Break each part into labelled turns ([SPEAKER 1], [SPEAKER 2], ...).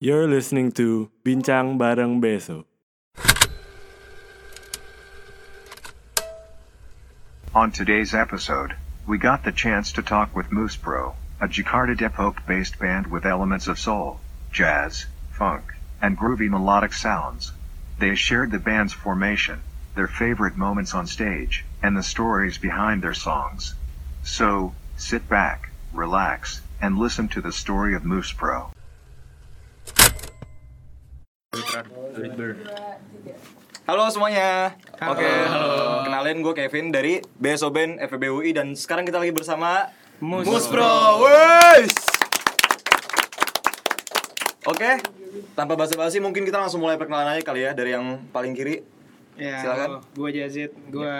[SPEAKER 1] You're listening to Bincang Bareng Beso.
[SPEAKER 2] On today's episode, we got the chance to talk with Moose Pro, a Jakarta Depok based band with elements of soul, jazz, funk, and groovy melodic sounds. They shared the band's formation, their favorite moments on stage, and the stories behind their songs. So, sit back, relax, and listen to the story of Moose Pro.
[SPEAKER 3] Halo semuanya. Oke, halo. Kenalin gue Kevin dari BSO Band FPBUI dan sekarang kita lagi bersama Mus, Pro. Wes. Oke, tanpa basa-basi mungkin kita langsung mulai perkenalan aja kali ya dari yang paling kiri.
[SPEAKER 4] Ya,
[SPEAKER 3] Silakan. Ya.
[SPEAKER 4] gue Jazid, gue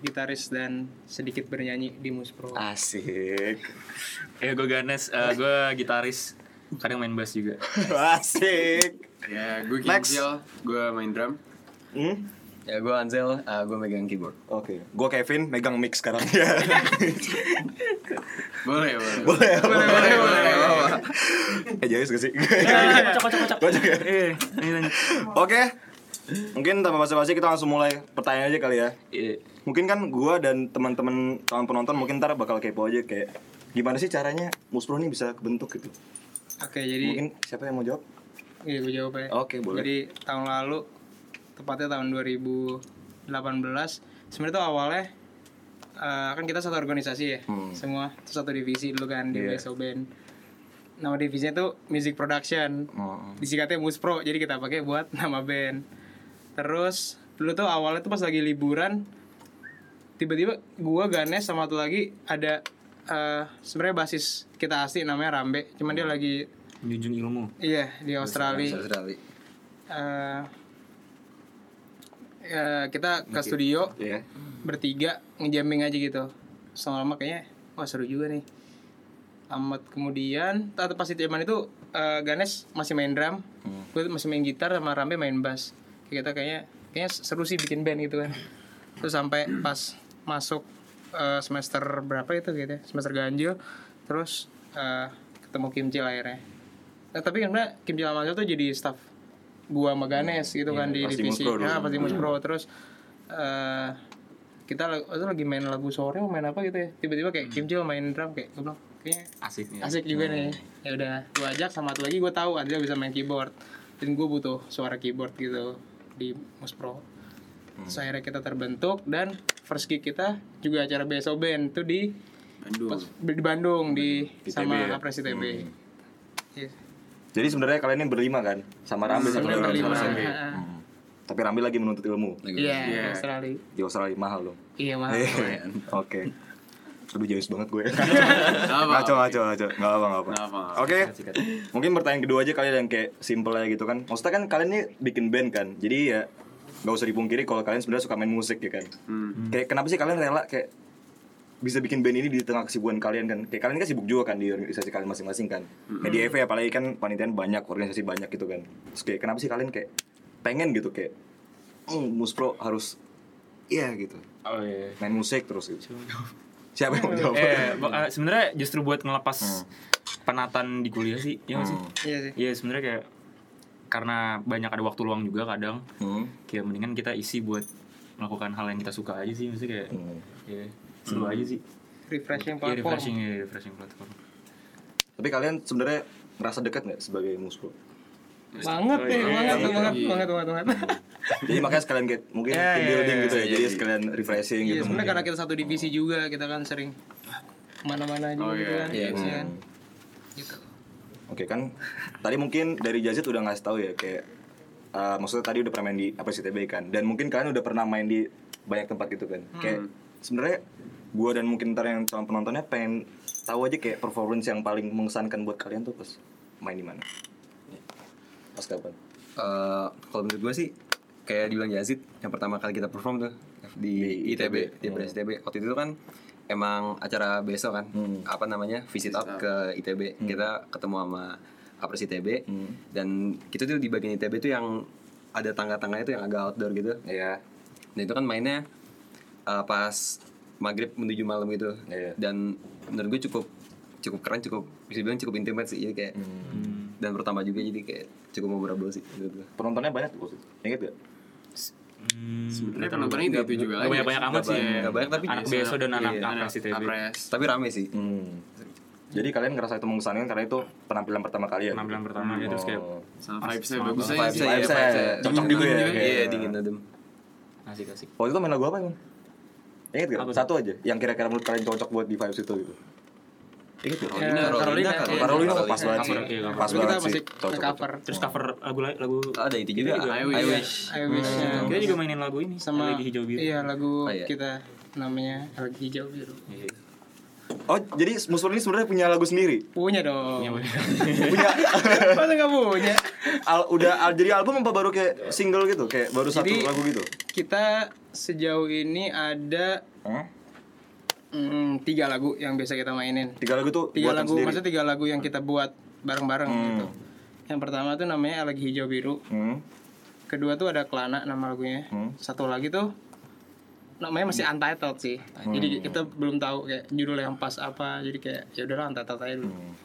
[SPEAKER 4] gitaris dan sedikit bernyanyi di Muspro.
[SPEAKER 3] Ah. Asik.
[SPEAKER 5] Ya gue Ganes, gue gitaris, kadang main bass juga.
[SPEAKER 3] Asik.
[SPEAKER 5] Ya gue
[SPEAKER 3] Next.
[SPEAKER 5] Kinjal, gue main drum.
[SPEAKER 3] Hmm?
[SPEAKER 6] Ya gue Anzel, uh, gue megang keyboard.
[SPEAKER 3] Oke, gue Kevin megang mic sekarang ya.
[SPEAKER 5] Boleh, boleh.
[SPEAKER 3] boleh, boleh, boleh,
[SPEAKER 5] boleh,
[SPEAKER 3] Eh, jadi gak sih?
[SPEAKER 4] Kocok-kocok.
[SPEAKER 3] Kocok ya?
[SPEAKER 5] Eh, lanjut, lanjut.
[SPEAKER 3] Oke. Mungkin tanpa basa-basi kita langsung mulai pertanyaan aja kali ya.
[SPEAKER 5] Iya.
[SPEAKER 3] mungkin kan gua dan teman-teman kawan penonton mungkin ntar bakal kepo aja kayak gimana sih caranya muspro ini bisa kebentuk gitu
[SPEAKER 4] Oke, jadi
[SPEAKER 3] mungkin Oh, siapa yang mau jawab
[SPEAKER 4] Iya, gue jawab ya.
[SPEAKER 3] Oke, boleh.
[SPEAKER 4] Jadi tahun lalu, tepatnya tahun 2018, sebenarnya tuh awalnya eh, kan kita satu organisasi ya, semua Terus satu divisi dulu kan di BSO Band. Nama divisinya tuh Music Production. Disikatnya Muspro, jadi kita pakai buat nama band. Terus dulu tuh awalnya tuh pas lagi liburan, tiba-tiba gua Ganes sama satu lagi ada eh, sebenarnya basis kita asli namanya Rambe, cuman dia lagi
[SPEAKER 5] Menjunjung ilmu.
[SPEAKER 4] Iya Hmm. di Australia.
[SPEAKER 6] Australia.
[SPEAKER 4] Eh, eh, kita ke studio
[SPEAKER 3] Iya.
[SPEAKER 4] bertiga ngejamming aja gitu. Selama lama kayaknya wah seru juga nih. Amat kemudian atau pas itu zaman itu eh, Ganes masih main drum, gue masih main gitar sama Rambe main bass. Kayak kita kayaknya kayaknya seru sih bikin band gitu kan. Terus sampai pas masuk eh, semester berapa itu gitu ya, semester ganjil terus eh, ketemu Kimchi akhirnya. Nah, tapi kan sebenarnya Kim Jalan Mansel tuh jadi staff gua sama Ganes gitu kan di divisi. Nah, pasti Mus Pro terus eh kita lagu, waktu itu lagi main lagu sore mau main apa gitu ya. Tiba-tiba kayak Kim Jil main drum kayak gue bilang kayaknya
[SPEAKER 5] Asik nih.
[SPEAKER 4] asik juga nih. Ya udah, gua ajak sama satu lagi gua tahu Adriel bisa main keyboard dan gua butuh suara keyboard gitu di Mus Pro. Terus akhirnya kita terbentuk dan first gig kita juga acara BSO Band tuh di
[SPEAKER 5] Bandung.
[SPEAKER 4] di Bandung di, sama Apresi TB. Iya.
[SPEAKER 3] jadi sebenarnya kalian ini berlima kan sama Rambi satu
[SPEAKER 4] Sebenarnya
[SPEAKER 3] orang
[SPEAKER 4] berlima.
[SPEAKER 3] sama Sandy.
[SPEAKER 4] Heeh.
[SPEAKER 3] Hmm. tapi Rambi lagi menuntut ilmu
[SPEAKER 4] Iya,
[SPEAKER 5] Iya.
[SPEAKER 4] Australia.
[SPEAKER 3] di Australia mahal dong
[SPEAKER 4] Iya, mahal.
[SPEAKER 3] oke Aduh jayus banget gue
[SPEAKER 5] Apa?
[SPEAKER 3] Ngaco, ngaco, ngaco Gak apa, gak apa
[SPEAKER 5] Nggak apa.
[SPEAKER 3] Oke Mungkin pertanyaan kedua aja kali yang kayak simple aja gitu kan Maksudnya kan kalian ini bikin band kan Jadi ya Gak usah dipungkiri kalau kalian sebenarnya suka main musik ya kan
[SPEAKER 5] Hmm.
[SPEAKER 4] Hmm.
[SPEAKER 3] Kayak kenapa sih kalian rela kayak bisa bikin band ini di tengah kesibukan kalian kan kayak kalian kan sibuk juga kan di organisasi kalian masing-masing kan
[SPEAKER 4] Hmm.
[SPEAKER 3] kayak di EV apalagi kan panitian banyak organisasi banyak gitu kan terus kayak kenapa sih kalian kayak pengen gitu kayak "Mm, muspro harus iya gitu
[SPEAKER 5] Oh iya.
[SPEAKER 3] main musik terus gitu siapa yang mau jawab
[SPEAKER 5] Eh, bo- eh, sebenarnya justru buat ngelepas
[SPEAKER 3] Hmm.
[SPEAKER 5] penatan di kuliah sih, ya nggak sih?
[SPEAKER 4] Iya sih.
[SPEAKER 5] Iya sebenarnya kayak karena banyak ada waktu luang juga kadang,
[SPEAKER 3] Hmm.
[SPEAKER 5] kayak mendingan kita isi buat melakukan hal yang kita suka aja sih, maksudnya kayak
[SPEAKER 3] Hmm.
[SPEAKER 5] ya, seru aja sih.
[SPEAKER 4] Refreshing
[SPEAKER 5] Iya
[SPEAKER 4] platform.
[SPEAKER 5] refreshing, ya refreshing platform.
[SPEAKER 3] Tapi kalian sebenarnya ngerasa dekat nggak sebagai muspro?
[SPEAKER 4] Banget nih, banget, banget, banget, banget, Iya, banget.
[SPEAKER 3] Jadi makanya sekalian kayak mungkin team building gitu ya. jadi sekalian refreshing
[SPEAKER 4] Eh. Iya,
[SPEAKER 3] gitu.
[SPEAKER 4] sebenarnya karena kita satu divisi juga, kita kan sering mana-mana juga gitu kan. Iya, kan.
[SPEAKER 3] Hmm.
[SPEAKER 4] Gitu.
[SPEAKER 3] Oke kan. Tadi mungkin dari Jazit udah ngasih tahu ya kayak eh, maksudnya tadi udah pernah main di apa sih TB kan dan mungkin kalian udah pernah main di banyak tempat gitu kan.
[SPEAKER 4] Hmm.
[SPEAKER 3] Kayak sebenarnya gua dan mungkin ntar yang calon penontonnya pengen tahu aja kayak performance yang paling mengesankan buat kalian tuh pas main di mana. Pas kapan?
[SPEAKER 6] Eh, Kalau menurut gue sih kayak dibilang Yazid yang pertama kali kita perform tuh di,
[SPEAKER 3] Di
[SPEAKER 6] ITB, di Beres ITB. Waktu itu kan emang acara besok kan, apa namanya visit Hmm. up ke ITB. Kita ketemu sama Apres ITB dan kita tuh di bagian ITB tuh yang Iya. ada tangga-tangganya tuh yang agak outdoor gitu.
[SPEAKER 3] Iya.
[SPEAKER 6] Dan itu kan mainnya uh, pas maghrib menuju malam gitu
[SPEAKER 3] Iya.
[SPEAKER 6] dan menurut gue cukup cukup keren cukup bisa bilang cukup intimate sih ya kayak dan pertama juga jadi kayak cukup memorable sih menurut
[SPEAKER 7] Hmm.
[SPEAKER 6] gue
[SPEAKER 3] Penontonnya banyak tuh waktu itu. Ingat gak?
[SPEAKER 6] Hmm.
[SPEAKER 7] Sebenarnya penontonnya itu juga
[SPEAKER 5] Gak banyak banyak amat sih.
[SPEAKER 6] Nggak banyak, tapi
[SPEAKER 5] anak
[SPEAKER 6] biasa.
[SPEAKER 5] beso dan anak
[SPEAKER 6] Iya.
[SPEAKER 5] anak si TB.
[SPEAKER 7] Apres.
[SPEAKER 6] tapi rame sih
[SPEAKER 4] Hmm.
[SPEAKER 3] Jadi kalian ngerasa itu mengesankan karena itu penampilan pertama kalian.
[SPEAKER 5] Penampilan pertama ya terus kayak
[SPEAKER 3] Oh.
[SPEAKER 7] Sama vibes-nya bagus aja
[SPEAKER 6] Vibes-nya,
[SPEAKER 7] sih.
[SPEAKER 3] vibes-nya.
[SPEAKER 7] Iya, vibes-nya.
[SPEAKER 3] Cocok
[SPEAKER 7] Dingin
[SPEAKER 3] juga ya,
[SPEAKER 7] juga.
[SPEAKER 3] kayak-
[SPEAKER 6] iya dingin adem
[SPEAKER 5] asik asik.
[SPEAKER 3] Waktu itu main lagu apa emang? Ingat gak?
[SPEAKER 5] Apa tuh?
[SPEAKER 3] Satu aja yang kira-kira menurut kalian cocok buat di vibes itu gitu. Ingat gak?
[SPEAKER 6] Iya.
[SPEAKER 4] Carolina, Carolina,
[SPEAKER 6] Carolina.
[SPEAKER 3] Carolina kan? kok pas banget sih.
[SPEAKER 5] Cover, iya, cover.
[SPEAKER 3] Pas
[SPEAKER 4] Tapi kita
[SPEAKER 3] banget sih.
[SPEAKER 4] masih
[SPEAKER 3] Cocok.
[SPEAKER 4] cover.
[SPEAKER 5] Terus cover lagu lain- lagu
[SPEAKER 3] Ah.
[SPEAKER 6] ada itu juga
[SPEAKER 5] juga.
[SPEAKER 6] I
[SPEAKER 7] I wish.
[SPEAKER 6] wish
[SPEAKER 4] I wish ya.
[SPEAKER 5] kita juga mainin lagu ini
[SPEAKER 4] sama
[SPEAKER 5] lagi hijau gitu. biru.
[SPEAKER 4] Iya, lagu
[SPEAKER 6] Oh, iya.
[SPEAKER 4] kita namanya Lagi Hijau gitu. Biru.
[SPEAKER 5] Iya.
[SPEAKER 3] Oh, jadi Musmur ini sebenarnya punya lagu sendiri.
[SPEAKER 4] Punya dong.
[SPEAKER 5] Iya, boleh.
[SPEAKER 3] punya
[SPEAKER 4] Masa nggak punya?
[SPEAKER 3] al- udah al- jadi album apa baru kayak single gitu? Kayak baru satu
[SPEAKER 4] Jadi-
[SPEAKER 3] lagu gitu.
[SPEAKER 4] Kita sejauh ini ada mm, tiga lagu yang biasa kita mainin.
[SPEAKER 3] Tiga lagu tuh
[SPEAKER 4] Tiga
[SPEAKER 3] buatan
[SPEAKER 4] lagu,
[SPEAKER 3] sendiri.
[SPEAKER 4] maksudnya tiga lagu yang kita buat bareng-bareng gitu. Yang pertama tuh namanya Lagi Hijau Biru.
[SPEAKER 3] Hmm.
[SPEAKER 4] Kedua tuh ada Kelana nama lagunya. Satu lagi tuh namanya masih
[SPEAKER 3] Hmm.
[SPEAKER 4] untitled sih. Jadi kita belum tahu kayak judul yang pas apa. Jadi kayak ya udahlah untitled aja dulu.
[SPEAKER 3] Hmm.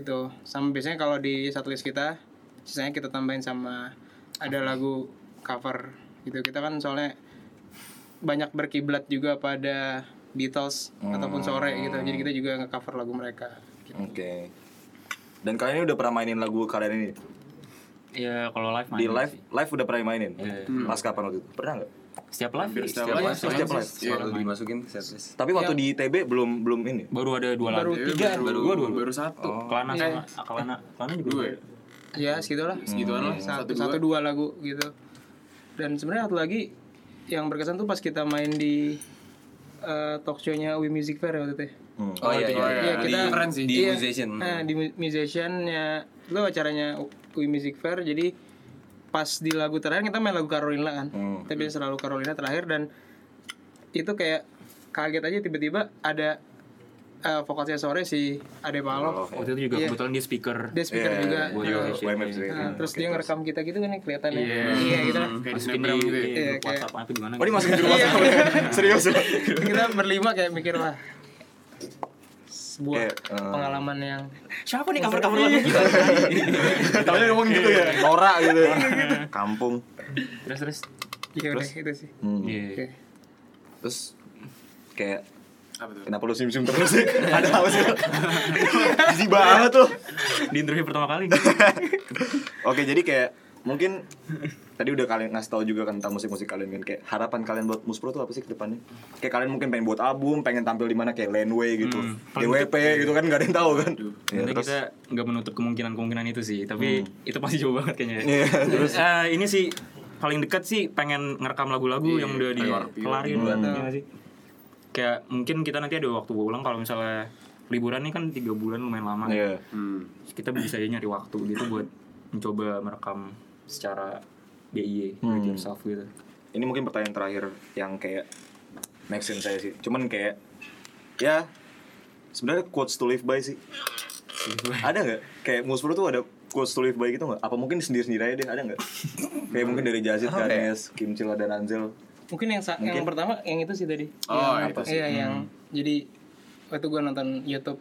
[SPEAKER 4] Gitu. Sama biasanya kalau di setlist kita sisanya kita tambahin sama ada lagu cover gitu. Kita kan soalnya banyak berkiblat juga pada Beatles
[SPEAKER 3] Hmm.
[SPEAKER 4] ataupun sore gitu. Jadi kita juga nge-cover lagu mereka. Gitu.
[SPEAKER 3] Oke. Dan kalian ini udah pernah mainin lagu kalian ini
[SPEAKER 5] Iya kalau live main.
[SPEAKER 3] di live live udah pernah mainin.
[SPEAKER 5] Iya.
[SPEAKER 3] Pas kapan waktu itu? Pernah nggak?
[SPEAKER 5] Setiap live. iya,
[SPEAKER 7] setiap
[SPEAKER 5] setiap
[SPEAKER 7] live.
[SPEAKER 5] live.
[SPEAKER 3] Setiap live.
[SPEAKER 6] selalu dimasukin ke setlist
[SPEAKER 3] Tapi waktu di TB belum belum ini.
[SPEAKER 5] Baru ada dua lagu.
[SPEAKER 4] Baru tiga. Iya.
[SPEAKER 6] baru
[SPEAKER 5] Dua, dua, dua.
[SPEAKER 7] Baru satu.
[SPEAKER 5] Kelana sama Akalana. Kelana juga.
[SPEAKER 7] Dua.
[SPEAKER 5] ada.
[SPEAKER 4] Ya, segitulah.
[SPEAKER 7] Segituan lah.
[SPEAKER 4] satu, satu dua lagu gitu dan sebenarnya satu lagi yang berkesan tuh pas kita main di eh, talk show-nya We Music Fair ya waktu itu ya.
[SPEAKER 6] oh iya iya
[SPEAKER 7] iya.
[SPEAKER 4] Iya,
[SPEAKER 7] di-
[SPEAKER 4] kita
[SPEAKER 7] keren sih.
[SPEAKER 6] di
[SPEAKER 4] iya,
[SPEAKER 6] musician.
[SPEAKER 4] eh, di mu- musician-nya itu acaranya We Music Fair jadi pas di lagu terakhir kita main lagu Carolina kan. Kita biasa selalu Carolina terakhir dan itu kayak kaget aja tiba-tiba ada eh, vokalnya sore si Ade
[SPEAKER 3] Oh,
[SPEAKER 4] Palov.
[SPEAKER 5] Waktu Oh, itu juga kebetulan dia speaker.
[SPEAKER 4] Iya. Dia speaker
[SPEAKER 3] Iya,
[SPEAKER 4] juga.
[SPEAKER 3] gua
[SPEAKER 4] Nah,
[SPEAKER 3] WMF sih. Hmm.
[SPEAKER 4] nah, terus dia ngerekam kita gitu kan ya kelihatannya.
[SPEAKER 7] Iya.
[SPEAKER 4] Iya gitu lah.
[SPEAKER 5] Masukin
[SPEAKER 7] Kayak di
[SPEAKER 5] di
[SPEAKER 7] snapgram gitu
[SPEAKER 5] grup
[SPEAKER 7] ya.
[SPEAKER 4] Iya, kayak-
[SPEAKER 5] WhatsApp apa gimana? gitu.
[SPEAKER 3] Oh, ini masukin di rumah sama ya? Serius. loh.
[SPEAKER 4] kita berlima kayak mikir lah sebuah
[SPEAKER 3] Kayak, eh,
[SPEAKER 4] pengalaman yang
[SPEAKER 5] Siapa nih cover cover lagu kita?
[SPEAKER 3] Tapi ngomong gitu ya. Norak gitu. Kampung.
[SPEAKER 5] Terus terus.
[SPEAKER 4] ya udah itu sih
[SPEAKER 5] Iya.
[SPEAKER 3] Terus kayak
[SPEAKER 7] Apa tuh?
[SPEAKER 3] Kenapa lu simsim terus sih? Ada apa sih? Jijik banget tuh.
[SPEAKER 5] Di interview pertama kali.
[SPEAKER 3] Oke, jadi kayak mungkin tadi udah kalian ngasih tahu juga kan tentang musik-musik kalian kan kayak harapan kalian buat Muspro tuh apa sih ke depannya? Kayak kalian mungkin pengen buat album, pengen tampil di mana kayak Laneway gitu, DWP gitu kan nggak ada yang tahu kan. Ya,
[SPEAKER 5] Sebenarnya
[SPEAKER 3] terus Hmm.
[SPEAKER 5] kita nggak menutup kemungkinan-kemungkinan itu sih, tapi itu pasti jauh banget kayaknya.
[SPEAKER 3] Iya,
[SPEAKER 5] terus ini sih paling dekat sih pengen ngerekam lagu-lagu
[SPEAKER 3] Iya,
[SPEAKER 5] yang udah dikelarin
[SPEAKER 3] gitu.
[SPEAKER 5] iya nggak sih. Kayak mungkin kita nanti ada waktu ulang kalau misalnya liburan nih kan tiga bulan lumayan lama.
[SPEAKER 3] Iya.
[SPEAKER 5] Kita bisa aja nyari waktu gitu buat mencoba merekam secara DIY,
[SPEAKER 3] Hmm.
[SPEAKER 5] do it yourself gitu.
[SPEAKER 3] Ini mungkin pertanyaan terakhir yang kayak make sense saya sih. Cuman kayak ya sebenarnya quotes to live by sih. ada nggak? Kayak Muspro tuh ada quotes to live by gitu nggak? Apa mungkin sendiri-sendiri aja deh, ada nggak? kayak mungkin dari Jazid, Ganes, Kim Chilla, dan Anzel.
[SPEAKER 4] mungkin yang sa- yang pertama yang itu sih tadi
[SPEAKER 7] Oh,
[SPEAKER 4] yang,
[SPEAKER 7] itu
[SPEAKER 4] apa- iya yang jadi waktu gua nonton YouTube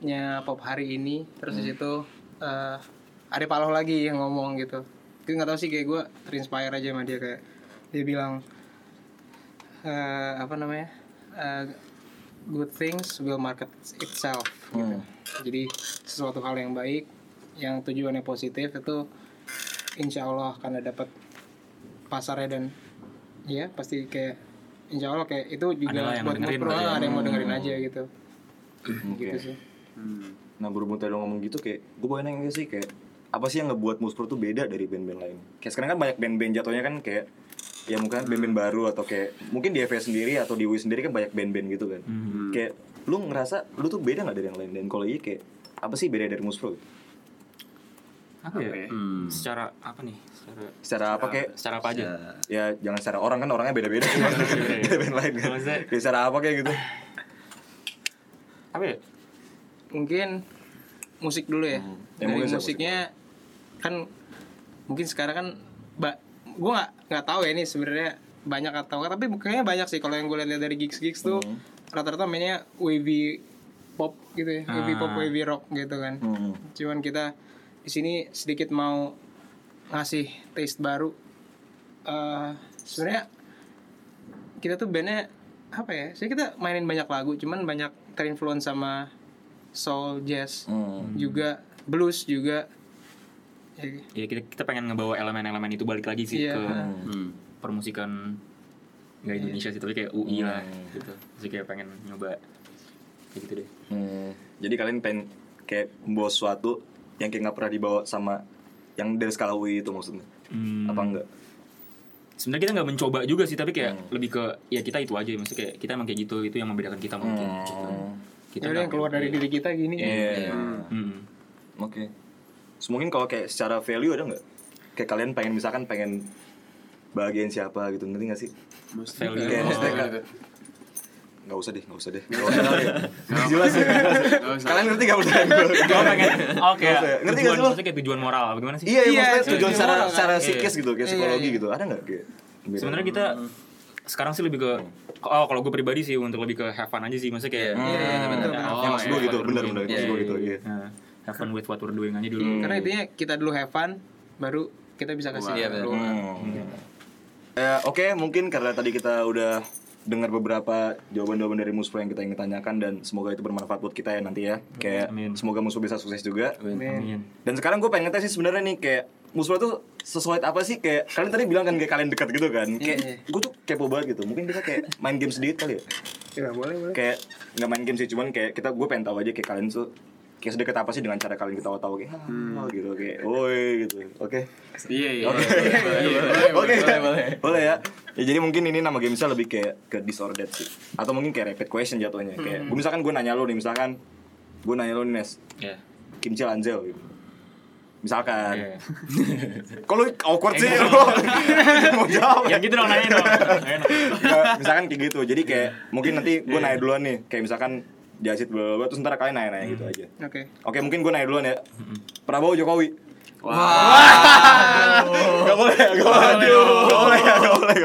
[SPEAKER 4] nya pop hari ini terus di situ eh, ada Pak Loh lagi yang ngomong gitu gue nggak tahu sih kayak gue terinspire aja sama dia kayak dia bilang eh, apa namanya eh, good things will market itself gitu jadi sesuatu hal yang baik yang tujuannya positif itu insya Allah karena dapat pasarnya dan ya pasti kayak insya Allah kayak itu
[SPEAKER 5] Ada lah
[SPEAKER 4] juga
[SPEAKER 5] yang
[SPEAKER 4] buat
[SPEAKER 5] dengerin
[SPEAKER 4] mood pro,
[SPEAKER 5] lah ya.
[SPEAKER 4] ada yang mau dengerin aja gitu gitu sih
[SPEAKER 3] Nah berhubung tadi lo ngomong gitu kayak gue boleh nanya nggak sih kayak apa sih yang ngebuat Muspro tuh beda dari band-band lain? Kayak sekarang kan banyak band-band jatuhnya kan kayak ya mungkin band-band baru atau kayak mungkin di FS sendiri atau di UI sendiri kan banyak band-band gitu kan. Kayak lu ngerasa lu tuh beda nggak dari yang lain? Dan kalau iya kayak apa sih beda dari Muspro?
[SPEAKER 5] Apa ya?
[SPEAKER 3] Hmm.
[SPEAKER 5] Secara apa nih? Secara
[SPEAKER 3] Secara apa kayak
[SPEAKER 5] secara apa aja?
[SPEAKER 3] ya jangan secara orang kan orangnya beda-beda sih beda band lain kan.
[SPEAKER 5] Maksudnya-
[SPEAKER 3] Kayak secara apa kayak gitu?
[SPEAKER 5] Apa ya?
[SPEAKER 4] mungkin musik dulu
[SPEAKER 3] Ya,
[SPEAKER 4] ya, dari
[SPEAKER 3] mungkin saya
[SPEAKER 4] musiknya kan mungkin sekarang kan mbak gue nggak nggak tahu ya ini sebenarnya banyak atau enggak tapi kayaknya banyak sih kalau yang gue lihat dari gigs gigs tuh rata-rata mainnya wavy pop gitu ya wavy pop wavy rock gitu kan cuman kita di sini sedikit mau ngasih taste baru Eh sebenarnya kita tuh bandnya apa ya sih kita mainin banyak lagu cuman banyak terinfluence sama soul jazz juga blues juga Ya,
[SPEAKER 5] ya kita, kita pengen ngebawa elemen-elemen itu balik lagi sih
[SPEAKER 4] Iya.
[SPEAKER 5] ke
[SPEAKER 6] Hmm.
[SPEAKER 5] permusikan nggak Indonesia sih tapi kayak
[SPEAKER 3] Hmm.
[SPEAKER 5] UI lah gitu jadi kayak pengen nyoba kayak gitu deh
[SPEAKER 3] Hmm, Jadi kalian pengen kayak membawa sesuatu yang kayak nggak pernah dibawa sama yang dari skala UI itu maksudnya.
[SPEAKER 5] Hmm.
[SPEAKER 3] Apa enggak?
[SPEAKER 5] sebenarnya kita nggak mencoba juga sih tapi
[SPEAKER 3] Hmm.
[SPEAKER 5] kayak lebih ke ya kita itu aja maksudnya kayak kita emang kayak gitu itu yang membedakan kita mungkin
[SPEAKER 3] Hmm.
[SPEAKER 5] gitu. kita
[SPEAKER 4] udah yang
[SPEAKER 5] nggak-
[SPEAKER 4] keluar dari diri kita gini
[SPEAKER 3] Iya.
[SPEAKER 5] Hmm.
[SPEAKER 6] Oke.
[SPEAKER 3] So, mungkin kalau kayak secara value ada nggak? Kayak kalian pengen misalkan pengen bagian siapa gitu ngerti nggak sih?
[SPEAKER 5] Value.
[SPEAKER 3] Kayak maksudnya
[SPEAKER 7] Nggak
[SPEAKER 3] kayak- nggak usah deh, nggak usah deh. Nggak usah kali ya. Jelas ya.
[SPEAKER 7] Nggak usah.
[SPEAKER 3] Kalian ngerti nggak pertanyaan gue?
[SPEAKER 5] Oh, pengen oke
[SPEAKER 3] Nggak usah. Ngerti
[SPEAKER 5] ngerti
[SPEAKER 3] nggak sih lo?
[SPEAKER 5] maksudnya kayak tujuan moral apa gimana sih
[SPEAKER 3] Iya, iya,
[SPEAKER 4] Iya,
[SPEAKER 3] maksudnya
[SPEAKER 4] itu
[SPEAKER 3] tujuan
[SPEAKER 4] dia
[SPEAKER 3] secara
[SPEAKER 4] orang kan.
[SPEAKER 3] secara
[SPEAKER 5] Iya.
[SPEAKER 3] psikis gitu, kayak
[SPEAKER 4] Iya,
[SPEAKER 3] psikologi
[SPEAKER 4] iya.
[SPEAKER 3] gitu. Ada nggak kayak? Iya.
[SPEAKER 5] sebenarnya gitu. kita sekarang sih lebih ke oh kalau gue pribadi sih untuk lebih ke have fun aja sih maksudnya kayak
[SPEAKER 4] Iya, iya, betul, betul.
[SPEAKER 5] oh,
[SPEAKER 3] Ya, maksud
[SPEAKER 5] iya,
[SPEAKER 3] gue
[SPEAKER 5] what
[SPEAKER 3] gitu,
[SPEAKER 5] we're
[SPEAKER 3] bener,
[SPEAKER 5] doing.
[SPEAKER 3] bener, maksud
[SPEAKER 5] Iya,
[SPEAKER 3] gue gitu,
[SPEAKER 5] iya.
[SPEAKER 3] iya.
[SPEAKER 5] Nah, have fun with what we're doing aja dulu
[SPEAKER 4] karena intinya kita dulu have fun baru kita bisa kasih
[SPEAKER 6] Iya, benar.
[SPEAKER 4] keluar.
[SPEAKER 3] Eh, Hmm. Oke, mungkin karena tadi kita udah dengar beberapa jawaban-jawaban dari Muspro yang kita ingin tanyakan dan semoga itu bermanfaat buat kita ya nanti ya. Kayak
[SPEAKER 5] Iya, Amin.
[SPEAKER 3] semoga Muspro bisa sukses juga.
[SPEAKER 5] Amin.
[SPEAKER 3] Dan sekarang gue pengen ngetes sih sebenarnya nih kayak Muspro tuh sesuai apa sih kayak kalian tadi bilang kan kayak kalian dekat gitu kan.
[SPEAKER 4] Iya, iya.
[SPEAKER 3] Kayak gue tuh kepo banget gitu. Mungkin kita kayak main game sedikit kali ya.
[SPEAKER 4] Ya, boleh boleh
[SPEAKER 3] Kayak nggak main game sih cuman kayak kita gue pengen tahu aja kayak kalian tuh kayak sedekat apa sih dengan cara kalian ketawa-tawa kayak "Ah," gitu kayak woi gitu. Oke.
[SPEAKER 7] Iya, iya.
[SPEAKER 3] Oke. Oke. Boleh ya. Ya jadi mungkin ini nama gamesnya lebih kayak ke disordered sih. Atau mungkin kayak rapid question jatuhnya. Kayak gua misalkan gue nanya lo nih misalkan gue nanya lo nih Nes,
[SPEAKER 5] ya
[SPEAKER 3] kimchi lanjel gitu. Misalkan.
[SPEAKER 5] Iya.
[SPEAKER 3] Kalau awkward sih lo. Mau jawab.
[SPEAKER 5] ya gitu dong nanya dong Nanya dong.
[SPEAKER 3] Nggak, misalkan kayak gitu. Iya. Jadi kayak mungkin nanti gue nanya duluan nih. Kayak misalkan jasit bla bla bla terus ntar kalian nanya-nanya gitu aja.
[SPEAKER 4] oke
[SPEAKER 3] Oke, mungkin gue nanya duluan ya. Prabowo Jokowi. Wah. Gak boleh, gak boleh. Aduh. Gak boleh, gak boleh. Gak boleh,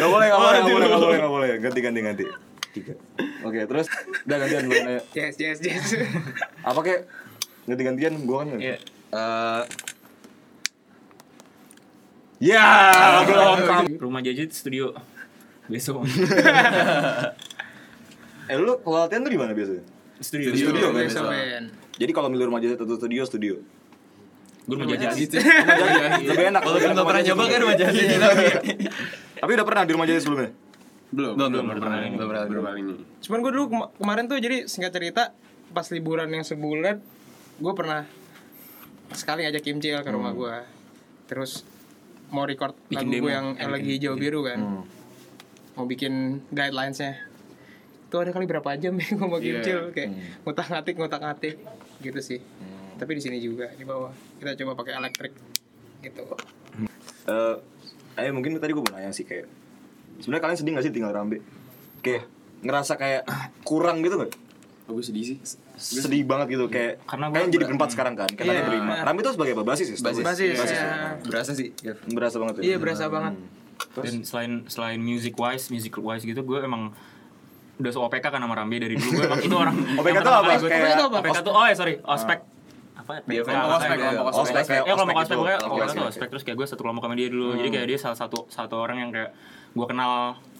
[SPEAKER 3] gak boleh, gak boleh, gak boleh, gak boleh. Ganti, ganti, ganti. Tiga. Oke, terus udah gantian dulu nanya.
[SPEAKER 4] yes yes yes
[SPEAKER 3] Apa kek? Ganti-gantian gue kan. Iya.
[SPEAKER 6] Eh,
[SPEAKER 3] Ya, belum.
[SPEAKER 5] rumah jajit studio besok
[SPEAKER 3] Eh lu kalau latihan tuh di mana biasanya?
[SPEAKER 5] studio
[SPEAKER 3] Studio kan?
[SPEAKER 4] besok band
[SPEAKER 3] Jadi kalau milih rumah jasa atau studio, studio.
[SPEAKER 5] gue rumah jajit
[SPEAKER 3] Iya. Lebih enak.
[SPEAKER 6] Walaupun
[SPEAKER 3] lebih enak
[SPEAKER 6] nggak
[SPEAKER 3] rumah
[SPEAKER 6] pernah nyoba
[SPEAKER 3] jahit
[SPEAKER 6] kan rumah jahit ini.
[SPEAKER 3] sebelumnya. Tapi udah pernah di rumah jasa sebelumnya?
[SPEAKER 7] Belum.
[SPEAKER 6] Belum, belum pernah. Belum pernah.
[SPEAKER 7] Belum kali ini.
[SPEAKER 4] cuman gue dulu kema- kemarin tuh jadi singkat cerita pas liburan yang sebulan gue pernah sekali ngajak Kim Cil ke rumah gue terus mau record
[SPEAKER 5] Bikin
[SPEAKER 4] lagu
[SPEAKER 5] demo.
[SPEAKER 4] gue yang lagi hijau biru kan mau bikin guidelinesnya itu ada kali berapa jam ya gue mau Kim
[SPEAKER 7] Iya.
[SPEAKER 4] Cil kayak ngotak ngatik ngotak ngatik gitu sih tapi di sini juga di bawah kita coba pakai elektrik gitu
[SPEAKER 3] Eh, eh mungkin tadi gue mau nanya sih kayak sebenarnya kalian sedih gak sih tinggal rambe? Kayak ngerasa kayak kurang gitu gak?
[SPEAKER 7] Oh, gue sedih sih.
[SPEAKER 3] Sedih banget gitu kayak
[SPEAKER 5] Karena gua
[SPEAKER 3] kalian jadi berempat sekarang kan, kalian
[SPEAKER 4] Iya.
[SPEAKER 3] berlima. Rambe itu sebagai apa? Basis ya?
[SPEAKER 6] Basis.
[SPEAKER 4] basis
[SPEAKER 3] Basis.
[SPEAKER 4] ya.
[SPEAKER 6] Berasa sih. Gav.
[SPEAKER 3] Berasa banget ya.
[SPEAKER 4] iya berasa banget
[SPEAKER 5] dan selain selain music wise music wise gitu gue emang udah se OPK kan sama Rambe dari dulu gue emang itu orang
[SPEAKER 3] OPK tuh
[SPEAKER 5] yang pertama
[SPEAKER 3] apa?
[SPEAKER 5] kali gua-
[SPEAKER 3] Kayak-
[SPEAKER 5] OPK tuh apa? OPK tuh oh ya sorry ospek Ah. apa ya?
[SPEAKER 6] Dia
[SPEAKER 5] Ospek.
[SPEAKER 6] kelompok ospek, kelompok
[SPEAKER 5] Ospek.
[SPEAKER 3] ospek.
[SPEAKER 5] ya kelompok
[SPEAKER 3] Ospek
[SPEAKER 5] ospek
[SPEAKER 3] itu.
[SPEAKER 5] pokoknya
[SPEAKER 3] Oke,
[SPEAKER 5] OPK
[SPEAKER 3] oke,
[SPEAKER 5] tuh
[SPEAKER 3] oke.
[SPEAKER 5] ospek terus kayak gue satu kelompok sama dia dulu jadi kayak dia salah satu satu orang yang kayak gue kenal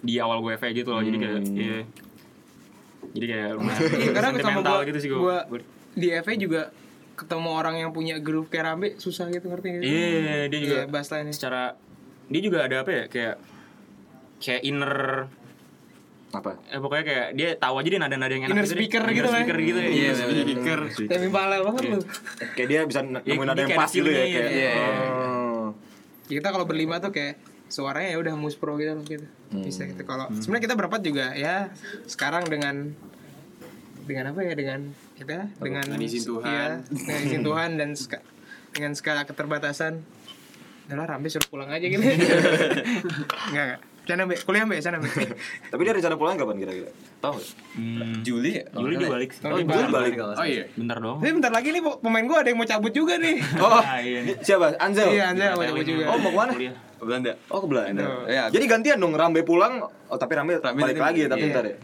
[SPEAKER 5] di awal gue FE gitu loh jadi kayak iya jadi kayak lumayan
[SPEAKER 4] Iya, karena ketemu
[SPEAKER 5] sentimental
[SPEAKER 4] gua,
[SPEAKER 5] gitu sih
[SPEAKER 4] gua
[SPEAKER 5] gue
[SPEAKER 4] di FA juga ketemu orang yang punya groove kayak Rambe susah gitu ngerti nggak sih?
[SPEAKER 5] Iya, dia juga
[SPEAKER 4] Iya, bass line-nya.
[SPEAKER 5] secara dia juga ada apa ya kayak kayak inner
[SPEAKER 3] Apa?
[SPEAKER 5] eh pokoknya kayak dia tahu aja dia nada-nada yang enak
[SPEAKER 4] Inner
[SPEAKER 5] gitu deh.
[SPEAKER 4] speaker
[SPEAKER 5] Inner
[SPEAKER 4] gitu lah ya.
[SPEAKER 5] speaker gitu ya. Iya,
[SPEAKER 7] Speaker.
[SPEAKER 4] Tapi pala banget lu.
[SPEAKER 3] Kayak dia bisa n- nemuin
[SPEAKER 5] jadi
[SPEAKER 3] ada yang
[SPEAKER 5] kayak
[SPEAKER 3] pas
[SPEAKER 5] ada
[SPEAKER 3] gitu ya
[SPEAKER 5] feelnya,
[SPEAKER 3] kayak.
[SPEAKER 5] iya.
[SPEAKER 3] oh.
[SPEAKER 4] Ya, Kita kalau berlima tuh kayak suaranya ya udah muspro gitu loh gitu.
[SPEAKER 7] Hmm.
[SPEAKER 4] Bisa gitu kalau sebenarnya kita berempat juga ya sekarang dengan dengan apa ya dengan kita dengan
[SPEAKER 7] izin Tuhan.
[SPEAKER 4] iya, dengan izin Tuhan dan seka- dengan segala keterbatasan adalah Rambe suruh pulang aja gitu. Enggak enggak. Sana Be, kuliah Be, sana Be.
[SPEAKER 3] Tapi dia rencana pulang kapan kira-kira? Tahu nggak?
[SPEAKER 5] Hmm,
[SPEAKER 6] Juli ya?
[SPEAKER 5] Juli dia balik. sih.
[SPEAKER 4] Tahun
[SPEAKER 5] Oh,
[SPEAKER 4] depan.
[SPEAKER 6] Juli balik.
[SPEAKER 7] Oh iya.
[SPEAKER 5] bentar dong.
[SPEAKER 4] Tapi bentar lagi nih pemain gua ada yang mau cabut juga nih.
[SPEAKER 3] Oh,
[SPEAKER 5] Ah, iya.
[SPEAKER 3] siapa? Anzel.
[SPEAKER 4] Iya, Andrea mau cabut juga.
[SPEAKER 3] Oh, mau kemana?
[SPEAKER 5] Kuliah.
[SPEAKER 6] ke Belanda.
[SPEAKER 3] Oh ke Belanda.
[SPEAKER 6] Iya,
[SPEAKER 3] Jadi gantian dong Rambe pulang, oh tapi Rambe,
[SPEAKER 6] Rambe
[SPEAKER 3] balik
[SPEAKER 6] nanti-
[SPEAKER 3] lagi ya tapi
[SPEAKER 6] iya.
[SPEAKER 3] ntar ya.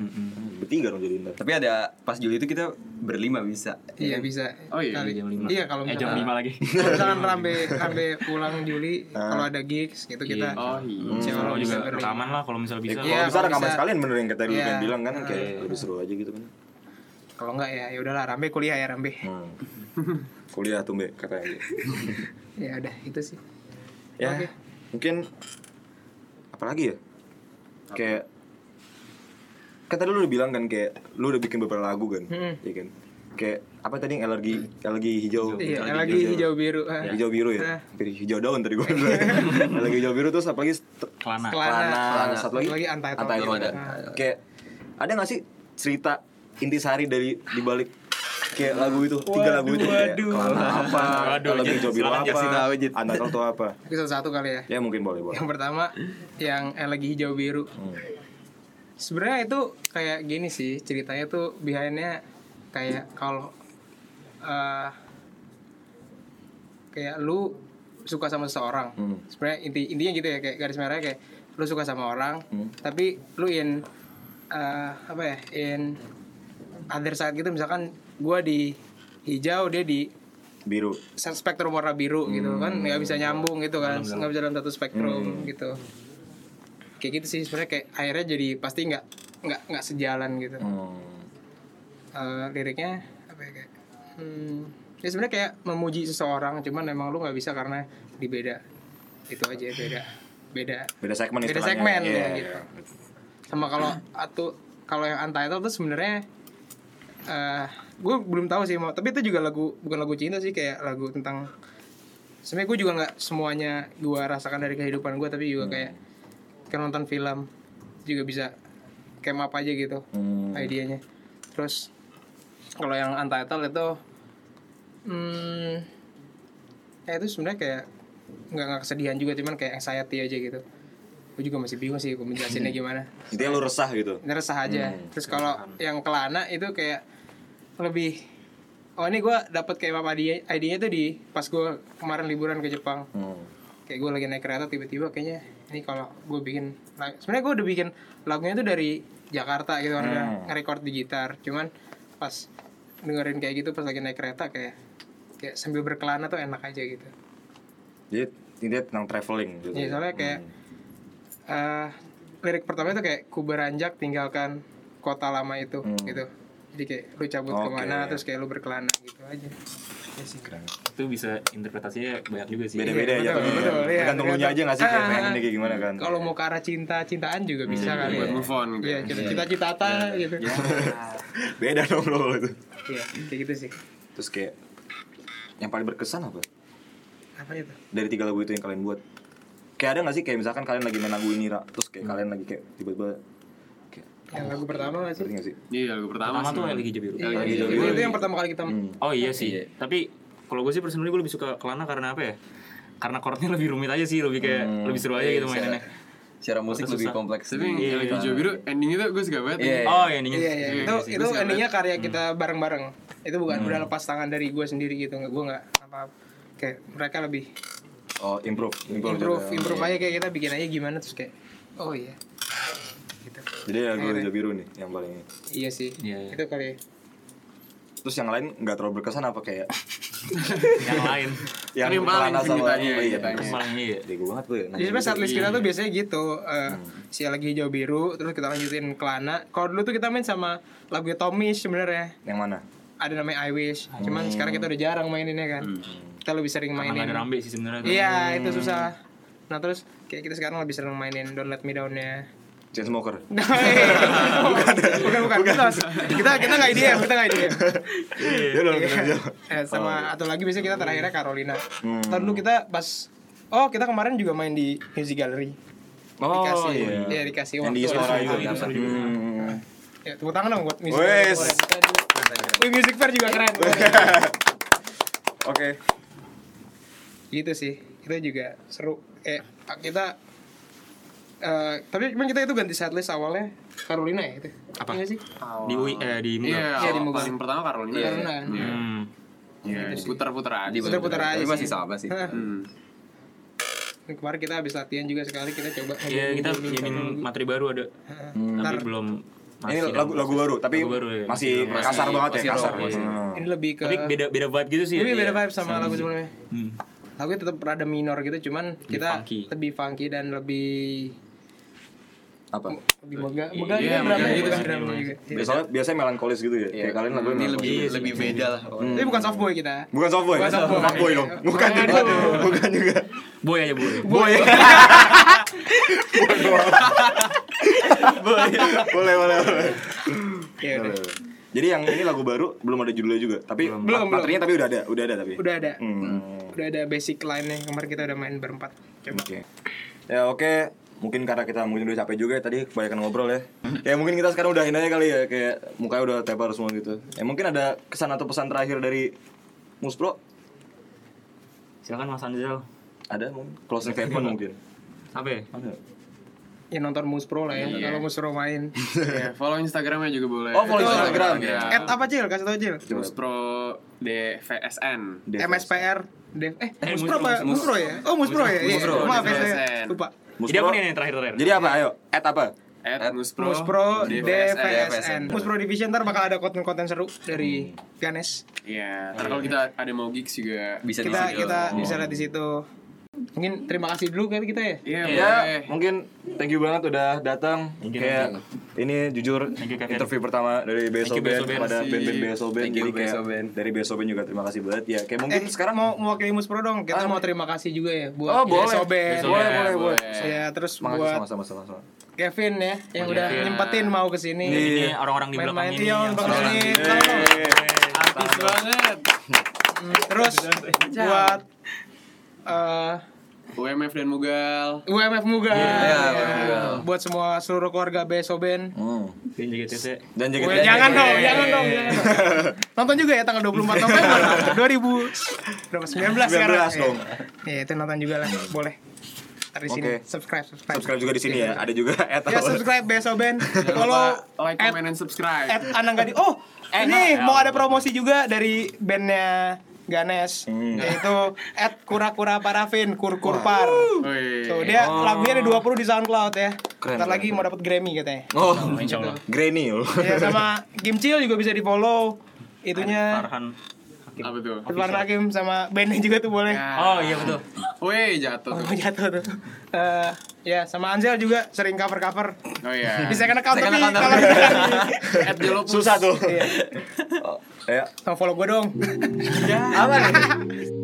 [SPEAKER 3] Bertiga dong jadi ntar.
[SPEAKER 6] tapi ada pas Juli itu kita berlima bisa.
[SPEAKER 4] Iya bisa.
[SPEAKER 7] Oh iya,
[SPEAKER 4] Kali.
[SPEAKER 5] jam lima.
[SPEAKER 4] Iya kalau
[SPEAKER 5] eh, jam
[SPEAKER 4] misalkan
[SPEAKER 5] lima lagi.
[SPEAKER 4] kalau misalkan rambe rambe pulang Juli kalau ada gigs gitu kita.
[SPEAKER 7] Oh iya.
[SPEAKER 5] Insya Allah
[SPEAKER 4] bisa
[SPEAKER 5] juga
[SPEAKER 4] berlima.
[SPEAKER 5] rekaman lah kalau misalnya
[SPEAKER 4] Iya,
[SPEAKER 5] bisa.
[SPEAKER 3] Kalau bisa
[SPEAKER 4] kalau
[SPEAKER 3] rekaman
[SPEAKER 4] bisa.
[SPEAKER 3] sekalian bener yang kita dulu
[SPEAKER 4] Iya.
[SPEAKER 3] kan bilang kan kayak lebih seru aja gitu kan.
[SPEAKER 4] Kalau enggak ya ya udahlah rambe kuliah ya rambe.
[SPEAKER 3] Hmm. Kuliah tuh Mbak katanya.
[SPEAKER 4] Ya udah itu sih.
[SPEAKER 3] ya
[SPEAKER 4] Oke.
[SPEAKER 3] mungkin apalagi ya kayak kata lu udah bilang kan kayak lu udah bikin beberapa lagu kan
[SPEAKER 4] Mm-mm.
[SPEAKER 3] Iya kan kayak apa tadi yang alergi alergi hijau
[SPEAKER 4] Iya lagi hijau biru. ah.
[SPEAKER 3] hijau biru
[SPEAKER 4] Ah.
[SPEAKER 3] ya hampir hijau daun tadi gue
[SPEAKER 4] Iya.
[SPEAKER 3] bilang alergi hijau biru terus apalagi st-
[SPEAKER 5] Kelana.
[SPEAKER 3] kelana satu lagi
[SPEAKER 4] lagi Iya. antai
[SPEAKER 3] Untitled.
[SPEAKER 6] Untitled.
[SPEAKER 3] Nah, kayak ada nggak sih cerita intisari dari dibalik kayak lagu itu tiga lagu itu kayak kelana apa
[SPEAKER 5] Waduh,
[SPEAKER 3] alergi
[SPEAKER 5] Jit,
[SPEAKER 3] hijau biru
[SPEAKER 5] silakan, Jit,
[SPEAKER 3] apa
[SPEAKER 6] kasih tahu, Jit.
[SPEAKER 3] anak tuh apa
[SPEAKER 4] Oke, satu-satu kali ya.
[SPEAKER 3] ya mungkin boleh boleh
[SPEAKER 4] Yang pertama yang eh, lagi hijau biru. Sebenarnya itu kayak gini sih ceritanya tuh behindnya kayak kalau eh, kayak lu suka sama seseorang. Sebenarnya inti intinya gitu ya kayak garis merahnya kayak lu suka sama orang tapi lu in eh, apa ya in other side gitu misalkan gua di hijau dia di
[SPEAKER 3] biru
[SPEAKER 4] spektrum warna biru gitu kan nggak bisa nyambung gitu kan nggak bisa dalam satu spektrum gitu kayak gitu sih sebenarnya kayak akhirnya jadi pasti nggak nggak nggak sejalan gitu
[SPEAKER 3] Hmm.
[SPEAKER 4] Eh, liriknya apa ya kayak hmm, ya sebenarnya kayak memuji seseorang cuman emang lu nggak bisa karena dibeda itu aja beda beda
[SPEAKER 3] beda segmen
[SPEAKER 4] beda
[SPEAKER 3] istilahnya.
[SPEAKER 4] segmen
[SPEAKER 3] Iya,
[SPEAKER 4] ya, gitu sama kalau atu kalau yang untitled tuh sebenarnya eh gue belum tahu sih mau tapi itu juga lagu bukan lagu cinta sih kayak lagu tentang sebenarnya gue juga nggak semuanya gue rasakan dari kehidupan gue tapi juga kayak kayak nonton film juga bisa kayak map aja gitu idenya terus kalau yang untitled itu hmm, ya itu sebenarnya kayak nggak nggak kesedihan juga cuman kayak anxiety aja gitu gue juga masih bingung sih gue menjelasinnya gimana
[SPEAKER 3] Intinya lu resah gitu.
[SPEAKER 4] ini resah aja terus kalau yang kelana itu kayak lebih oh ini gue dapat kayak apa ID nya tuh di pas gue kemarin liburan ke Jepang
[SPEAKER 3] Hmm.
[SPEAKER 4] kayak gue lagi naik kereta tiba-tiba kayaknya ini kalau gue bikin lag- sebenarnya gue udah bikin lagunya itu dari Jakarta gitu kan udah ngerekord di gitar cuman pas dengerin kayak gitu pas lagi naik kereta kayak kayak sambil berkelana tuh enak aja gitu
[SPEAKER 3] Jadi intinya tentang traveling gitu.
[SPEAKER 4] Iya, soalnya kayak eh, lirik pertama itu kayak ku beranjak tinggalkan kota lama itu gitu. Jadi kayak lu cabut
[SPEAKER 3] Oke.
[SPEAKER 4] kemana terus kayak lu berkelana gitu aja.
[SPEAKER 5] Itu bisa interpretasinya banyak juga sih.
[SPEAKER 3] Beda-beda
[SPEAKER 4] Iya,
[SPEAKER 3] ya.
[SPEAKER 4] betul, betul, iya,
[SPEAKER 3] Tergantung lu nya aja nggak sih kayak
[SPEAKER 4] Ah,
[SPEAKER 3] pengen kayak gimana kan.
[SPEAKER 4] Kalau mau ke arah cinta-cintaan juga bisa kali ya.
[SPEAKER 7] Buat move on
[SPEAKER 4] Iya,
[SPEAKER 7] gitu.
[SPEAKER 4] cita-cita-cita gitu.
[SPEAKER 3] beda dong lo kalau itu.
[SPEAKER 4] Iya, kayak gitu sih.
[SPEAKER 3] Terus kayak yang paling berkesan apa?
[SPEAKER 4] Apa itu?
[SPEAKER 3] Dari tiga lagu itu yang kalian buat. Kayak ada nggak sih kayak misalkan kalian lagi main lagu ini Ra, terus kayak
[SPEAKER 6] Hmm.
[SPEAKER 3] kalian lagi kayak tiba-tiba kayak
[SPEAKER 4] Yang lagu pertama gak sih?
[SPEAKER 3] ngerti nggak sih?
[SPEAKER 7] Iya, lagu pertama.
[SPEAKER 5] Pertama
[SPEAKER 7] sih.
[SPEAKER 5] tuh lagi hijau biru.
[SPEAKER 4] Iya, Hmm. itu, itu yang pertama kali kita
[SPEAKER 5] Oh iya sih. Tapi kalau gue sih personally gue lebih suka kelana karena apa ya? Karena chordnya lebih rumit aja sih, lebih kayak
[SPEAKER 4] Hmm.
[SPEAKER 5] lebih seru aja gitu
[SPEAKER 4] Iya,
[SPEAKER 5] mainannya.
[SPEAKER 6] Secara musik lebih kompleks.
[SPEAKER 7] Tapi yang lagi hijau biru endingnya tuh gue suka banget.
[SPEAKER 6] Iya.
[SPEAKER 5] Oh iya ini.
[SPEAKER 4] Iya, iya. Itu itu endingnya karya kita bareng-bareng. Itu bukan udah lepas tangan dari gue sendiri gitu. Nggak, gue nggak apa kayak mereka lebih
[SPEAKER 3] Oh, improve. Improve.
[SPEAKER 4] improve improve aja kayak kita bikin aja gimana terus kayak oh iya gitu
[SPEAKER 3] Jadi lagu hijau biru nih yang paling ini.
[SPEAKER 4] iya sih
[SPEAKER 5] Iya, iya.
[SPEAKER 4] itu kali ya.
[SPEAKER 3] Terus yang lain nggak terlalu berkesan apa kayak
[SPEAKER 5] Yang lain.
[SPEAKER 7] Kan yang paling
[SPEAKER 3] Kelana
[SPEAKER 7] sih ditanya,
[SPEAKER 3] oh, iya.
[SPEAKER 7] ditanya.
[SPEAKER 5] Paling iya.
[SPEAKER 3] Jago banget gue. Nah,
[SPEAKER 4] jadi sebenarnya setlist kita tuh biasanya gitu eh, si lagi hijau biru terus kita lanjutin kelana kalau dulu tuh kita main sama lagunya Tomish sebenarnya
[SPEAKER 3] Yang mana?
[SPEAKER 4] ada namanya I Wish cuman sekarang kita udah jarang maininnya kan kita lebih sering
[SPEAKER 5] Karena nggak
[SPEAKER 4] mainin
[SPEAKER 5] ada rambe sih sebenarnya. tuh.
[SPEAKER 4] iya itu susah nah terus kayak kita sekarang lebih sering mainin Don't Let Me Down-nya
[SPEAKER 3] Chainsmoker.
[SPEAKER 4] bukan, bukan, bukan. Kita, kita kita nggak IDM, kita nggak IDM.
[SPEAKER 3] Ya udah, kita aja.
[SPEAKER 4] Eh,
[SPEAKER 3] iya.
[SPEAKER 4] sama atau lagi biasanya kita terakhirnya
[SPEAKER 3] Hmm.
[SPEAKER 4] Carolina. Ntar dulu kita pas oh kita kemarin juga main di Music Gallery.
[SPEAKER 3] Oh, iya.
[SPEAKER 4] Dikasih, ya, dikasih
[SPEAKER 3] Yang di
[SPEAKER 4] waktu.
[SPEAKER 3] Istora
[SPEAKER 4] lah.
[SPEAKER 3] itu. Hmm.
[SPEAKER 4] Ya, tepuk tangan dong buat Music
[SPEAKER 3] Wes.
[SPEAKER 4] Gallery. Wih, Music Fair juga keren.
[SPEAKER 3] Oke.
[SPEAKER 4] gitu sih, itu juga seru. Eh, kita eh, tapi cuman kita itu ganti setlist awalnya Carolina ya itu.
[SPEAKER 5] Apa?
[SPEAKER 4] Iya sih?
[SPEAKER 5] Di UI eh di
[SPEAKER 7] Iya,
[SPEAKER 5] Muga.
[SPEAKER 4] di Muga.
[SPEAKER 7] paling pertama Carolina. Iya.
[SPEAKER 4] Carolina. kan.
[SPEAKER 5] Hmm.
[SPEAKER 7] Iya, putar-putar aja.
[SPEAKER 4] Putar-putar aja
[SPEAKER 6] Tapi
[SPEAKER 4] sih.
[SPEAKER 6] masih sama sih.
[SPEAKER 4] Hah.
[SPEAKER 7] Hmm.
[SPEAKER 4] Dan kemarin kita habis latihan juga sekali kita coba
[SPEAKER 5] Iya, kita
[SPEAKER 4] ngejamming
[SPEAKER 5] jamin
[SPEAKER 4] satu lagu.
[SPEAKER 5] materi baru ada.
[SPEAKER 3] Hmm,
[SPEAKER 5] Tapi belum
[SPEAKER 3] Ini
[SPEAKER 5] masih
[SPEAKER 3] lagu
[SPEAKER 5] dalam
[SPEAKER 3] lagu baru, tapi
[SPEAKER 5] Lagu baru, ya.
[SPEAKER 3] masih
[SPEAKER 5] Masih-
[SPEAKER 3] kasar banget ya,
[SPEAKER 6] masih
[SPEAKER 3] kasar.
[SPEAKER 6] raw, masih
[SPEAKER 3] Hmm.
[SPEAKER 4] ini lebih ke
[SPEAKER 5] tapi beda beda vibe gitu sih.
[SPEAKER 4] Tapi
[SPEAKER 5] ya,
[SPEAKER 4] beda
[SPEAKER 5] iya.
[SPEAKER 4] vibe sama lagu sebelumnya. Lagunya tetap rada minor gitu, cuman kita
[SPEAKER 5] funky.
[SPEAKER 4] lebih funky dan lebih
[SPEAKER 3] Apa?
[SPEAKER 4] lebih megah. Megah juga
[SPEAKER 7] iya, megah
[SPEAKER 4] drumnya
[SPEAKER 7] gitu
[SPEAKER 4] juga,
[SPEAKER 7] sih.
[SPEAKER 4] drumnya juga. Iya.
[SPEAKER 3] Biasanya biasanya melankolis gitu ya. Kayak kalian lagu
[SPEAKER 6] ini lebih lebih beda lah pokoknya.
[SPEAKER 4] Tapi bukan soft boy kita.
[SPEAKER 3] Bukan softboy,
[SPEAKER 4] Bukan soft boy.
[SPEAKER 3] fuckboy dong. Bukan juga, bukan juga.
[SPEAKER 5] Boy aja boy.
[SPEAKER 3] Boy. Boy. Boleh, boleh, boleh.
[SPEAKER 4] Ya udah.
[SPEAKER 3] Jadi yang ini lagu baru belum ada judulnya juga, tapi
[SPEAKER 4] Belum,
[SPEAKER 3] mat- materinya tapi udah ada, udah ada tapi.
[SPEAKER 4] Udah ada.
[SPEAKER 3] Hmm.
[SPEAKER 4] Udah ada basic line-nya. Kemarin kita udah main berempat. Coba.
[SPEAKER 3] Oke. Ya oke, mungkin karena kita mungkin udah capek juga ya tadi kebanyakan ngobrol ya. Kayak mungkin kita sekarang udahin aja kali ya kayak mukanya udah tepar semua gitu. Ya mungkin ada kesan atau pesan terakhir dari Muspro?
[SPEAKER 5] Silakan Mas Anzel.
[SPEAKER 3] Ada mungkin closing statement mungkin.
[SPEAKER 5] Apa ya?
[SPEAKER 3] Ada.
[SPEAKER 4] Ya nonton Mus Pro lah ya. Kalau Mus Pro main.
[SPEAKER 7] Iya, follow Instagramnya juga boleh.
[SPEAKER 3] Oh, follow Instagram.
[SPEAKER 4] At apa Cil? Kasih tau Cil.
[SPEAKER 7] Terus pro DVSN.
[SPEAKER 4] MSPR. Dev. Eh, Mus
[SPEAKER 5] Mus
[SPEAKER 4] Pro
[SPEAKER 5] Pro,
[SPEAKER 4] apa? Mus Pro ya? Oh, Mus Pro ya? Iya. Maaf ya, saya
[SPEAKER 7] DVSN.
[SPEAKER 4] lupa.
[SPEAKER 5] Jadi apa nih yang terakhir terakhir?
[SPEAKER 3] Jadi apa? Ayo, at apa?
[SPEAKER 7] At Muspro,
[SPEAKER 4] Mus Pro
[SPEAKER 6] DVSN.
[SPEAKER 4] DVSN. Mus Pro Division ntar bakal ada konten-konten seru dari Ganes.
[SPEAKER 7] Iya, ntar kalau kita ada mau gigs juga.
[SPEAKER 6] Bisa di
[SPEAKER 4] Kita
[SPEAKER 6] situ.
[SPEAKER 3] Iya.
[SPEAKER 4] kita bisa lihat di situ. Mungkin terima kasih dulu kali kita ya.
[SPEAKER 7] Iya,
[SPEAKER 3] Ya,
[SPEAKER 7] boleh.
[SPEAKER 3] mungkin thank you banget udah datang. Kayak ini jujur
[SPEAKER 5] you, Kevin.
[SPEAKER 3] interview pertama dari BSO
[SPEAKER 5] you,
[SPEAKER 3] Band
[SPEAKER 5] BSO Band.
[SPEAKER 3] kepada band-band BSO Band.
[SPEAKER 6] Thank you,
[SPEAKER 3] Jadi kayak
[SPEAKER 6] BSO Band.
[SPEAKER 3] dari BSO Band juga terima kasih banget ya. Kayak mungkin
[SPEAKER 4] Eh,
[SPEAKER 3] sekarang
[SPEAKER 4] sekarang mau mewakili Mus Pro dong. Kita
[SPEAKER 3] Ah,
[SPEAKER 4] mau
[SPEAKER 3] boleh.
[SPEAKER 4] terima kasih juga ya
[SPEAKER 3] Oh,
[SPEAKER 4] buat
[SPEAKER 3] boleh.
[SPEAKER 4] Soben.
[SPEAKER 3] Boleh, boleh, boleh.
[SPEAKER 4] Ya, terus
[SPEAKER 3] Makasih
[SPEAKER 4] buat
[SPEAKER 3] sama-sama sama-sama.
[SPEAKER 4] Kevin ya yang
[SPEAKER 5] Buat
[SPEAKER 4] udah
[SPEAKER 5] Kevin.
[SPEAKER 4] nyempetin mau ke sini.
[SPEAKER 3] Iya.
[SPEAKER 5] ini orang-orang di belakang
[SPEAKER 4] Main-main
[SPEAKER 5] ini.
[SPEAKER 4] iya,
[SPEAKER 5] yang-
[SPEAKER 4] Bang
[SPEAKER 6] orang-orang.
[SPEAKER 4] Sini.
[SPEAKER 7] Artis banget.
[SPEAKER 4] Terus buat eh
[SPEAKER 7] UMF dan Mugal.
[SPEAKER 4] UMF Iya, Muga.
[SPEAKER 3] Iya,
[SPEAKER 4] Oh,
[SPEAKER 6] UMF Muga.
[SPEAKER 4] Buat semua seluruh keluarga BSO Band.
[SPEAKER 5] Dan JGTC.
[SPEAKER 3] Dan jaga
[SPEAKER 4] Weh, jangan dong, jangan dong, jangan dong. Nonton juga ya tanggal 24 November 2019 sekarang.
[SPEAKER 3] 19 dong.
[SPEAKER 4] Iya, itu nonton juga lah, boleh. Dari sini
[SPEAKER 3] Hmm. Oke.
[SPEAKER 4] subscribe, subscribe.
[SPEAKER 3] Subscribe juga di sini ya. Ada juga at
[SPEAKER 4] Ya subscribe Beso Band. Follow
[SPEAKER 7] like,
[SPEAKER 4] at,
[SPEAKER 7] comment, and subscribe.
[SPEAKER 4] at Anang Gading. Oh,
[SPEAKER 3] Eh,
[SPEAKER 4] ini mau ada promosi juga dari bandnya Ganes
[SPEAKER 3] Hmm.
[SPEAKER 4] yaitu at kura-kura parafin kurkurpar.
[SPEAKER 7] Wih.
[SPEAKER 4] So, dia
[SPEAKER 3] Oh.
[SPEAKER 4] lagunya ada 20 di SoundCloud ya. Ntar lagi mau dapat Grammy katanya.
[SPEAKER 3] Oh,
[SPEAKER 5] Insya Allah.
[SPEAKER 3] Granny loh.
[SPEAKER 4] Ya sama Gimcil juga bisa di follow itunya
[SPEAKER 5] Farhan.
[SPEAKER 7] Apa tuh?
[SPEAKER 4] Irfan Hakim sama bandnya juga tuh
[SPEAKER 3] Ya.
[SPEAKER 4] boleh
[SPEAKER 5] Oh iya betul.
[SPEAKER 7] Wih, jatuh.
[SPEAKER 4] oh, jatuh tuh Eh, ya sama Anzel juga sering cover cover
[SPEAKER 7] Oh
[SPEAKER 4] Nah.
[SPEAKER 7] iya.
[SPEAKER 4] bisa kena count tapi
[SPEAKER 6] Second account.
[SPEAKER 4] kalau
[SPEAKER 7] At Jolopus.
[SPEAKER 3] Susah tuh.
[SPEAKER 4] Iya.
[SPEAKER 3] Ya.
[SPEAKER 4] Sama follow gue dong
[SPEAKER 3] Apa nih?